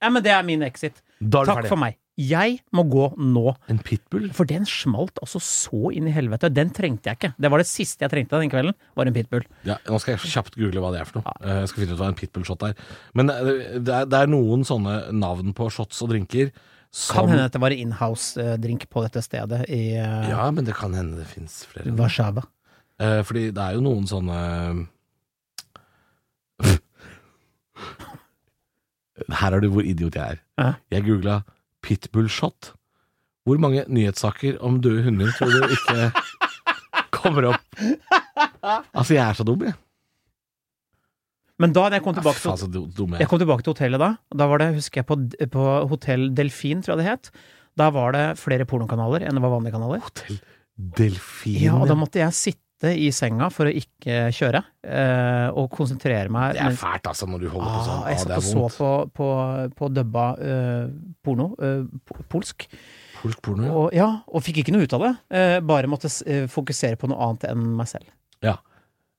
Ja, men det er min exit. Da er du Takk ferdig. for meg. Jeg må gå nå. En pitbull? For den smalt altså så inn i helvete. Den trengte jeg ikke. Det var det siste jeg trengte den kvelden, var en pitbull. Ja, nå skal jeg kjapt google hva det er for noe. Eh, Jeg skal finne ut hva en pitbull-shot er. Men eh, det er, det er noen sånne navn på shots og drinker som Kan hende at det var inhouse-drink på dette stedet i eh, Ja, men det kan hende det fins flere. Warszawa. Eh, fordi det er jo noen sånne Her er du hvor idiot jeg er. Ja. Jeg googla 'pitbull-shot'. Hvor mange nyhetssaker om døde hunder tror du ikke kommer opp? Altså, jeg er så dum, jeg. Men da da jeg kom Ja, tilbake til, faen, så dum jeg er. jeg kom tilbake til hotellet da, og da var det, husker jeg, på, på Hotell Delfin, tror jeg det het. Da var det flere pornokanaler enn det var vanlige kanaler. Hotell Delfin. Ja, og da måtte jeg sitte svette i senga for å ikke kjøre, eh, og konsentrere meg. Det er mens- fælt, altså, når du holder på sånn. Ah, jeg Ah, satt det og er så vondt. på, på, på dubba eh, porno, eh, po- polsk, Polsk porno, ja. og, ja, og fikk ikke noe ut av det. Eh, bare måtte s- eh, fokusere på noe annet enn meg selv. Ja.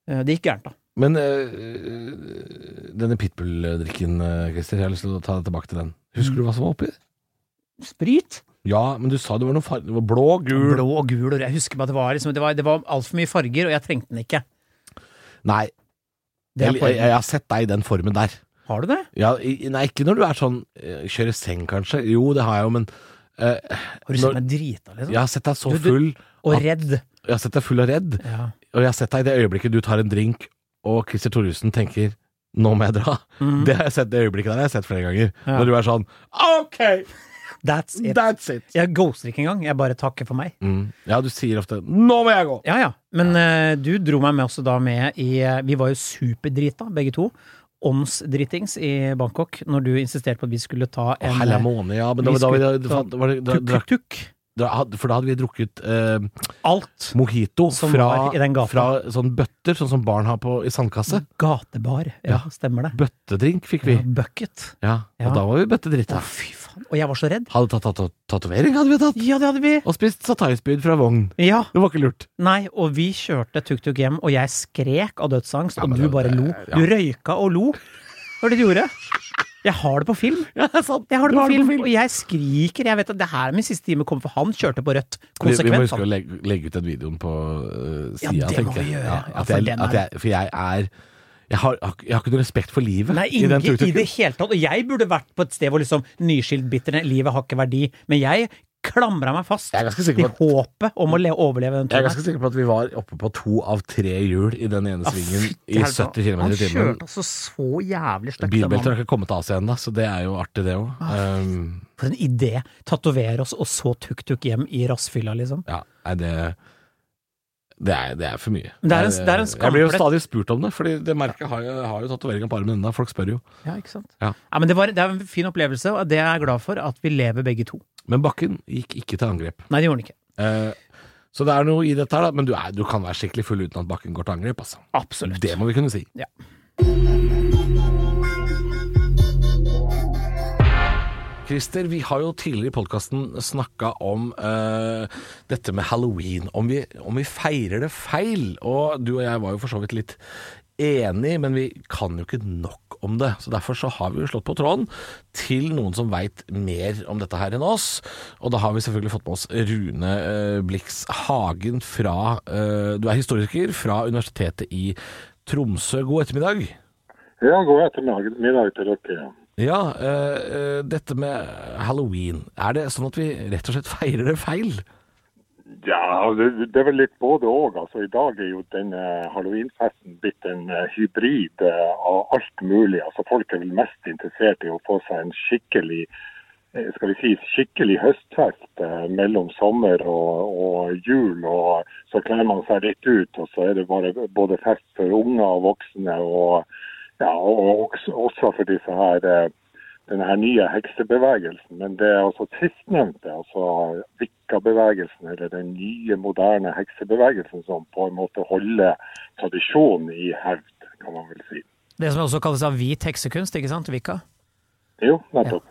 Eh, det gikk gærent, da. Men eh, denne pitbull-drikken, eh, Christer, jeg har lyst til å ta deg tilbake til den. Husker du hva som var oppi? Sprit? Ja, men du sa det var noe farge. Det var blå, gul Blå og gul, og jeg husker bare at det var, liksom, det var, det var altfor mye farger, og jeg trengte den ikke. Nei, Det jeg, er jeg, poenget. jeg har sett deg i den formen der. Har du det? Ja, i, nei, ikke når du er sånn eh, Kjører seng, kanskje. Jo, det har jeg jo, men eh, Har du Når- sett meg drita, liksom? jeg har sett deg så Du- du- full. Og redd. Jeg har sett deg full og redd. Ja. Og jeg har sett deg i det øyeblikket du tar en drink, og Christer Thoresen tenker 'nå må jeg dra'. Mhm. Det har jeg sett, det øyeblikket der har jeg sett flere ganger. Ja. Når du er sånn 'OK, That's it. that's it'. Jeg ghoster ikke engang, jeg bare takker for meg. Mm. Ja, du sier ofte 'nå må jeg gå'. Ja, ja. Men eh, du dro meg med også da med i eh, Vi var jo superdrita, begge to. Åndsdritings i Bangkok, når du insisterte på at vi skulle Å, ta en eh, Helle måne, ja. Men da, vi da, da, skulle da, ta- da, var det- da, drakk- tuk-tuk-tuk. da, had- For da hadde vi drukket eh, Alt. mojito Som fra, var i den gata. fra sånn bøtter, sånn som barn har på, i sandkasse. Gatebar. Ja, stemmer det. Bøttedrink fikk vi. Ja, bucket. Ja, og Ja. da var vi Å, bøttedrita. fy faen. Og jeg var så redd. Hadde tatt tatt- tatovering, hadde vi tatt. Ja, det hadde vi. Og spist sataispyd fra vogn. Ja. Det var ikke lurt. Nei, og vi kjørte tuk-tuk hjem, og jeg skrek av dødsangst, Ja, og men du det- bare det- lo. ja. Du røyka og lo. Hva var det du gjorde? Jeg har det på film. Jeg har det Du på har det på film, film. og jeg skriker. Jeg vet at det her er min siste time kommer, for han kjørte på rødt. Vi, vi må Konsekvent. sånn. huske han. å legge, legge ut den videoen på uh, sida, Ja, det må tenker jeg. vi gjøre. Ja, at for jeg, den er- at jeg, for jeg er jeg har, jeg har ikke noe respekt for livet Nei, ingen i den i det tuk-tuken. hele tatt. Og jeg burde vært på et sted hvor liksom nyskiltbitterne, livet har ikke verdi. Men jeg klamra meg fast Jeg er ganske sikker på til at- håpet om å le overleve den Jeg er turen. ganske sikker på at vi var oppe på to av tre hjul i den ene svingen i 70 km i Ah, Han timen. kjørte altså så jævlig stygt. den Bilbeltet mannen. har ikke kommet til Asia ennå, så det er jo artig, det òg. Ah, Um, For en idé! Tatovere oss, og så tuk-tuk hjem i rassfylla, liksom. ja, nei, det det er, det er for mye. Men det er en- det er en skam jeg blir jo for det. stadig spurt om det, Fordi det merket har jo, har jo tatoveringa på armen ennå. Folk spør jo. Ja, ikke sant? Ja. men det, var, det er en fin opplevelse, og det er jeg glad for at vi lever begge to. Men Bakken gikk ikke til angrep. Nei, det gjorde han ikke. Eh, så det er noe i dette her, da. Men du, er, du kan være skikkelig full uten at bakken går til angrep, altså. Absolutt. Det må vi kunne si. Ja. Christer, vi har jo tidligere i podkasten snakka om eh, dette med halloween. Om vi, om vi feirer det feil. Og du og jeg var jo for så vidt litt enig, men vi kan jo ikke nok om det. Så derfor så har vi jo slått på tråden til noen som veit mer om dette her enn oss. Og da har vi selvfølgelig fått med oss Rune eh, Blix Hagen fra eh, Du er historiker fra Universitetet i Tromsø. God ettermiddag. Ja, god ettermiddag middag til dere. ja. Ja, eh, eh, dette med halloween. Er det sånn at vi rett og slett feirer det feil? Ja, det, det er vel litt både òg. Altså, I dag er jo denne eh, halloweenfesten blitt en eh, hybrid eh, av alt mulig. Altså, folk er vel mest interessert i å få seg en skikkelig eh, skal vi si, skikkelig høstfest eh, mellom sommer og, og jul. og Så kler man seg litt ut, og så er det bare både fest for unger og voksne. Og, ja, og også, også for disse her eh, den her nye heksebevegelsen. Men det er altså sistnevnte, altså Vikka-bevegelsen, eller den nye, moderne heksebevegelsen, som på en måte holder tradisjonen i hevd, kan man vel si. Det som også kalles av hvit heksekunst, ikke sant, Vika? Jo, nettopp.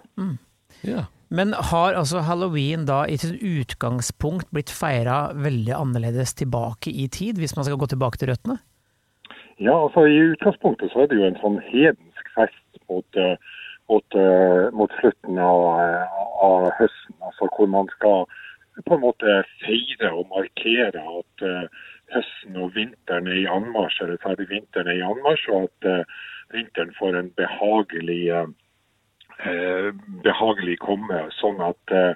Ja. Men har altså halloween da i sitt utgangspunkt blitt feira veldig annerledes tilbake i tid, hvis man skal gå tilbake til røttene? Ja, altså I utgangspunktet så er det jo en sånn hedensk fest mot, eh, mot, eh, mot slutten av, eh, av høsten. altså Hvor man skal på en måte feire og markere at eh, høsten og vinteren er i anmarsj, eller særlig vinteren er i anmarsj, og at eh, vinteren får en behagelig eh, eh, behagelig komme, sånn at eh,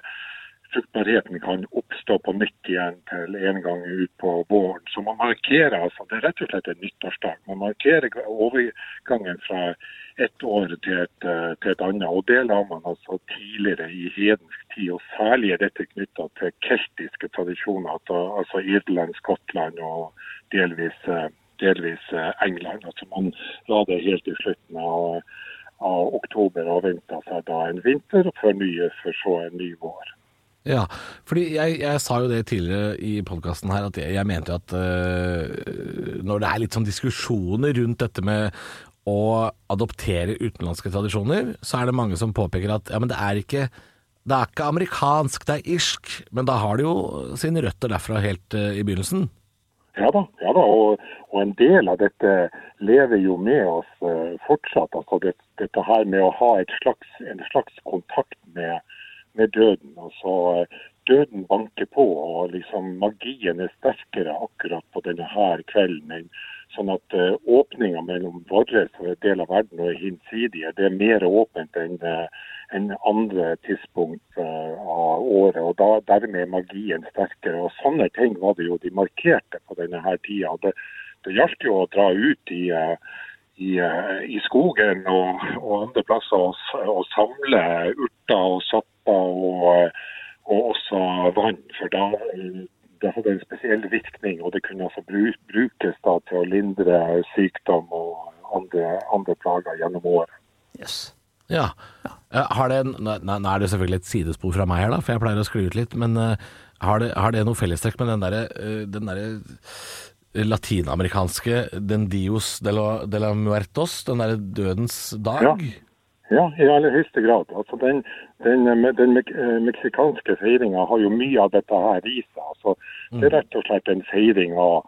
fruktbarheten kan oppstå på nytt igjen til en gang utpå våren. Så man markerer altså, det er rett og slett en nyttårsdag. Man markerer overgangen fra ett år til et, eh, til et annet. Og det la man altså tidligere i hedensk tid, og særlig er dette knytta til keltiske tradisjoner, altså, altså Irland, Skottland og delvis, eh, delvis eh, England. Altså man la det helt i slutten av av oktober og venta seg da en vinter før nye, for så en ny vår. Ja, fordi jeg, jeg sa jo det tidligere i podkasten her, at jeg, jeg mente jo at øh, når det er litt sånn diskusjoner rundt dette med å adoptere utenlandske tradisjoner, så er det mange som påpeker at ja, men det er ikke det er ikke amerikansk, det er irsk. Men da har det jo sine røtter derfra helt øh, i begynnelsen. Ja da, ja da. Og, og en del av dette lever jo med oss eh, fortsatt. Altså det, dette her med å ha et slags, en slags kontakt med, med døden. Altså, eh, døden banker på, og liksom magien er sterkere akkurat på denne her kvelden. enn- Sånn at eh, åpninga mellom vår del av verden og hinsidige, det er mer åpent enn eh, enn andre tidspunkt eh, av året. og da, Dermed er magien sterkere. og Sånne ting var det jo de markerte på denne her tida. Det, det gjaldt jo å dra ut i, eh, i, eh, i skogen og, og andre plasser og, s- og samle urter og sapper og, eh, og også vann. for da eh, det hadde en spesiell virkning, og det kunne altså bru- brukes da til å lindre sykdom og andre, andre plager gjennom året. Yes. Ja. Eh, Har det en, nei, nei, nå er det selvfølgelig et sidespor fra meg her, da, for jeg pleier å skli ut litt. Men eh, har, det, har det noe fellestrekk med den derre eh, den derre latinamerikanske Den dios de la, de la muertos, den derre dødens dag? Ja. Ja, i aller høyeste grad. Altså den, den, den mek- eh, meksikanske feiringa har jo mye av dette her i seg. Altså, det er rett og slett en feiring av,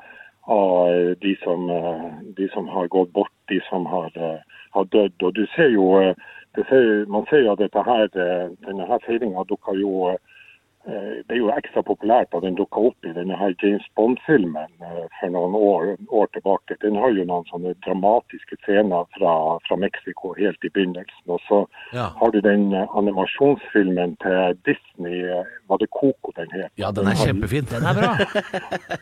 av de, som, eh, de som har gått bort, de som har, eh, har dødd. Og du ser jo, eh, det ser, Man ser jo at dette her, eh, denne her feiringa dukker jo eh, Eh, Det er jo ekstra populært da den dukka opp i denne her James Bond-filmen eh, for noen år, år tilbake. Den har jo noen sånne dramatiske scener fra, fra Mexico helt i begynnelsen. Og så Ja. har du den eh, animasjonsfilmen til Disney, eh, var det Coco den het? Ja, den er har- kjempefin. Den er bra.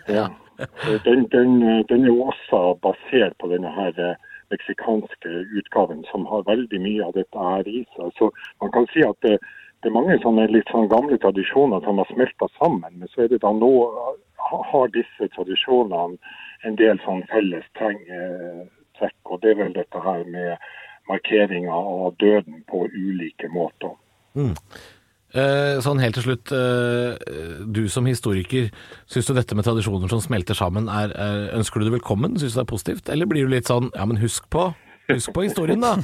ja. Den, den, den er jo også basert på denne her eh, meksikanske utgaven, som har veldig mye av dette her i seg. Så man kan si at det, det er mange sånne litt sånn gamle tradisjoner som har smelta sammen. Men så er det da nå ha- har disse tradisjonene en del sånn felles tegn, eh, trekk, og det er vel dette her med markeringa av døden på ulike måter. Eh, Sånn helt til slutt, eh, du som historiker, syns du dette med tradisjoner som smelter sammen, er, er, ønsker du det velkommen? Syns du det er positivt? Eller blir du litt sånn ja, men husk på, husk på historien, da?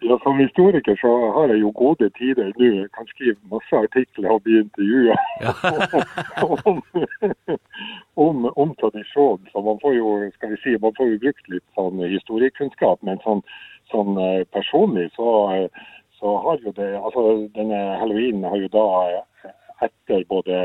Ja, Som historiker så har jeg jo gode tider nå. Jeg kan skrive masse artikler og bli intervjua om, om, om tradisjon. Så man får jo skal vi si, man får jo brukt litt sånn historiekunnskap. Men sånn, sånn eh, personlig så, eh, så har jo det altså Denne halloween har jo da eh, etter både,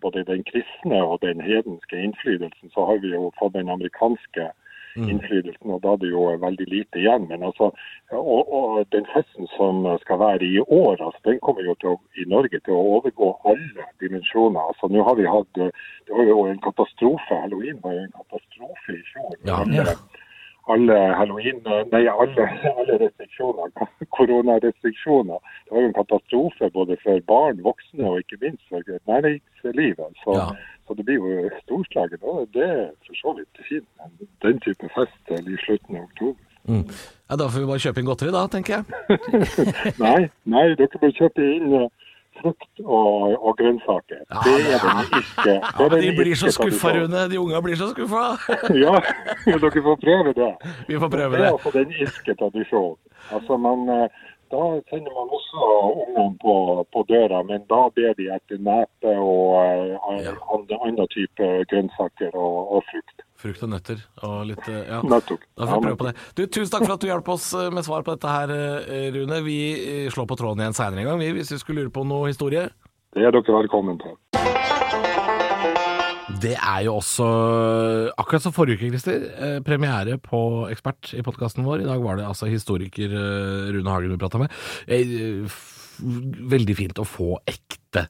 både den kristne og den hedenske innflytelsen, så har vi jo fått den amerikanske Mm. innflytelsen, og da er det jo veldig lite igjen. Men altså, og, og den festen som skal være i år, altså, den kommer jo til å, i Norge til å overgå alle dimensjoner. Altså, nå har vi hatt, eh, Det var jo en katastrofe. Halloween var jo en katastrofe i fjor. Ja. Alle, alle halloween, eh, nei, alle, alle restriksjoner, koronarestriksjoner. Det var jo en katastrofe både for barn, voksne og ikke minst for næringslivet. Så, Ja. så det blir jo storslaget. Og det er for så vidt fint. men Den type fest eh, i slutten av oktober. Mm. Ja, da får vi bare kjøpe inn godteri, da, tenker jeg. Nei, nei dere bør kjøpe inn eh, frukt og, og grønnsaker. Det er den ikke. det er den De blir så ikke skuffa, tradisjonen. Rune. De unga blir så skuffa. Ja, dere får prøve det. Vi får prøve det. Det er altså den irske tradisjonen. Altså man, eh, da sender man også ungene på, på døra, men da ber de etter nepe og eh, Ja. andre, andre type grønnsaker og, og frukt. Frukt og nøtter og litt eh, Ja. Nettopp. Da får vi Ja, men- prøve på det. Du, Tusen takk for at du hjalp oss eh, med svar på dette her, eh, Rune. Vi eh, slår på tråden igjen seinere en gang, vi, hvis vi skulle lure på noe historie. Det er dere velkommen til. Det er jo også, akkurat som forrige uke, Christer, eh, premiere på Ekspert i podkasten vår. I dag var det altså historiker eh, Rune Hagen vi prata med. Eh, f- Veldig fint å få ekte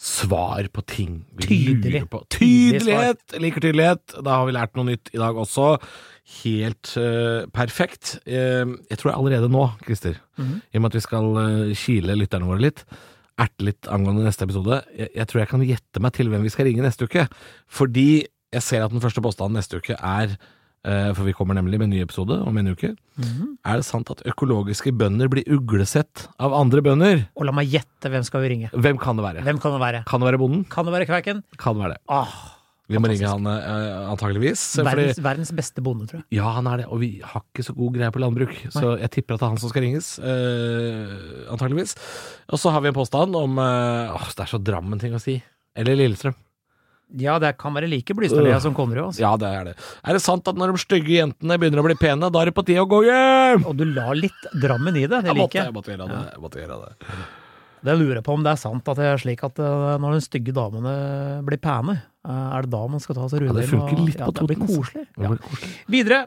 svar på ting vi Tydelig. lurer på. Tydelig svar. Tydelighet! Liker tydelighet. Da har vi lært noe nytt i dag også. Helt eh, perfekt. Eh, jeg tror allerede nå, Christer, i og med at vi skal eh, kile lytterne våre litt, erte litt angående neste episode. Jeg, jeg tror jeg kan gjette meg til hvem vi skal ringe neste uke. Fordi jeg ser at den første påstanden neste uke er eh, for vi kommer nemlig med en ny episode om en uke. Mhm. Er det sant at økologiske bønder blir uglesett av andre bønder? Og la meg gjette, hvem skal vi ringe? Hvem kan det være? Hvem kan det være? Kan det være bonden? Kan det være Kverken? Kan det være det. Ah, Vi må ringe han eh, antakeligvis. Fordi, verdens, verdens beste bonde, tror jeg. ja, han er det, og vi har ikke så god greie på landbruk, så jeg tipper at det er han som skal ringes. Uh, antakeligvis. Og så har vi en påstand om eh, Åh, det er så Drammen-ting å si. Eller Lillestrøm. Ja, det kan være like Øh. Blystadlia som Konnerud. Altså. Ja, det er det. Er det sant at når de stygge jentene begynner å bli pene, da er det på tide å gå hjem? Og du la litt Drammen i det, det Jeg måtte, liker jeg jeg. måtte gjøre det. Jeg måtte gjøre det. Det lurer jeg på om det er sant at det er slik at eh, når de stygge damene blir pene, eh, er det da man skal ta seg Ja, rudel? det funker litt på Det Toten, blir altså. koselig. Det Ja. var koselig. Videre.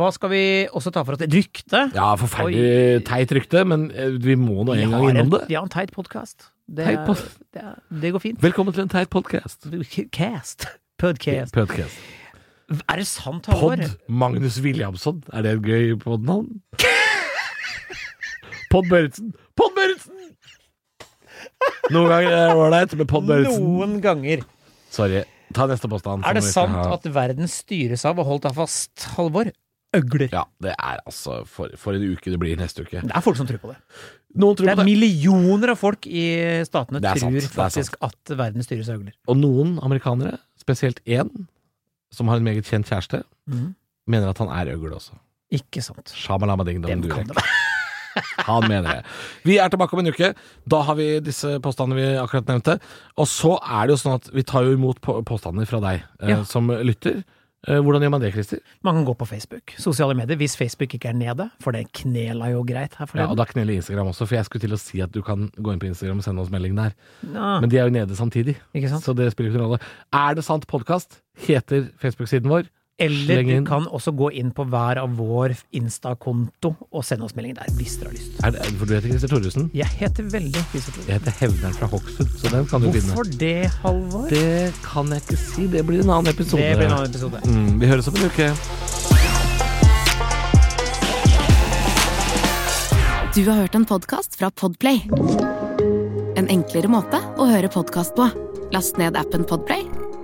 Hva skal vi også ta for oss? Et rykte? Ja, forferdelig Oi. teit rykte, men eh, vi må da Vi en gang har innom en- det. Vi har en teit podkast. Det, Teit er- pod- det, er- det går fint. Velkommen til en teit podkast. Cast. Podcast. Podcast. Er det sant, Halvor? Pod Magnus Williamson. Er det et gøy podnavn? Pod Børretzen. Pod Børretzen! Noen ganger er det ålreit med Pod Børretzen. Noen ganger. Sorry. Ta neste påstand. Er det som vi skal sant ha. at verden styres av, og holdt deg fast, Halvor, øgler? Ja, det er altså for, for en uke det blir neste uke. Det er folk som tror på det. Noen Det tror er på det, millioner av folk i statene Det er sant, det tror er faktisk at verden styres av øgler. og noen amerikanere, spesielt én, som har en meget kjent kjæreste, Mhm. mener at han er øgle også. Ikke sant. Shamalama ding dong Dem kan durek. det være. Han mener det. Vi er tilbake om en uke. Da har vi disse påstandene vi akkurat nevnte. Og så er det jo sånn at vi tar jo imot på- påstander fra deg eh, Ja. som lytter. Eh, hvordan gjør man det, Christer? Man kan gå på Facebook. Sosiale medier, hvis Facebook ikke er nede, for det knela jo greit her Ja, og forleden. da kneller Instagram også, for jeg skulle til å si at du kan gå inn på Instagram og sende oss melding der. Ja, Men de er jo nede samtidig, ikke sant? så det spiller ikke noen rolle. Er det sant podkast? Heter Facebook-siden vår. Eller Sleng du inn. kan også gå inn på hver av vår Insta-konto og sende oss melding der hvis dere har lyst. Er det, for du heter Christer Thoresen. Jeg heter veldig Fisetro. Jeg heter Hevneren fra Hokksund, så den kan du finne. Hvorfor det, Halvor? Det kan jeg ikke si. Det blir en annen episode. Det blir en annen episode. Mm, vi høres om en uke. Du har hørt en podcast fra Podplay En enklere måte å høre podcast på Last ned appen Podplay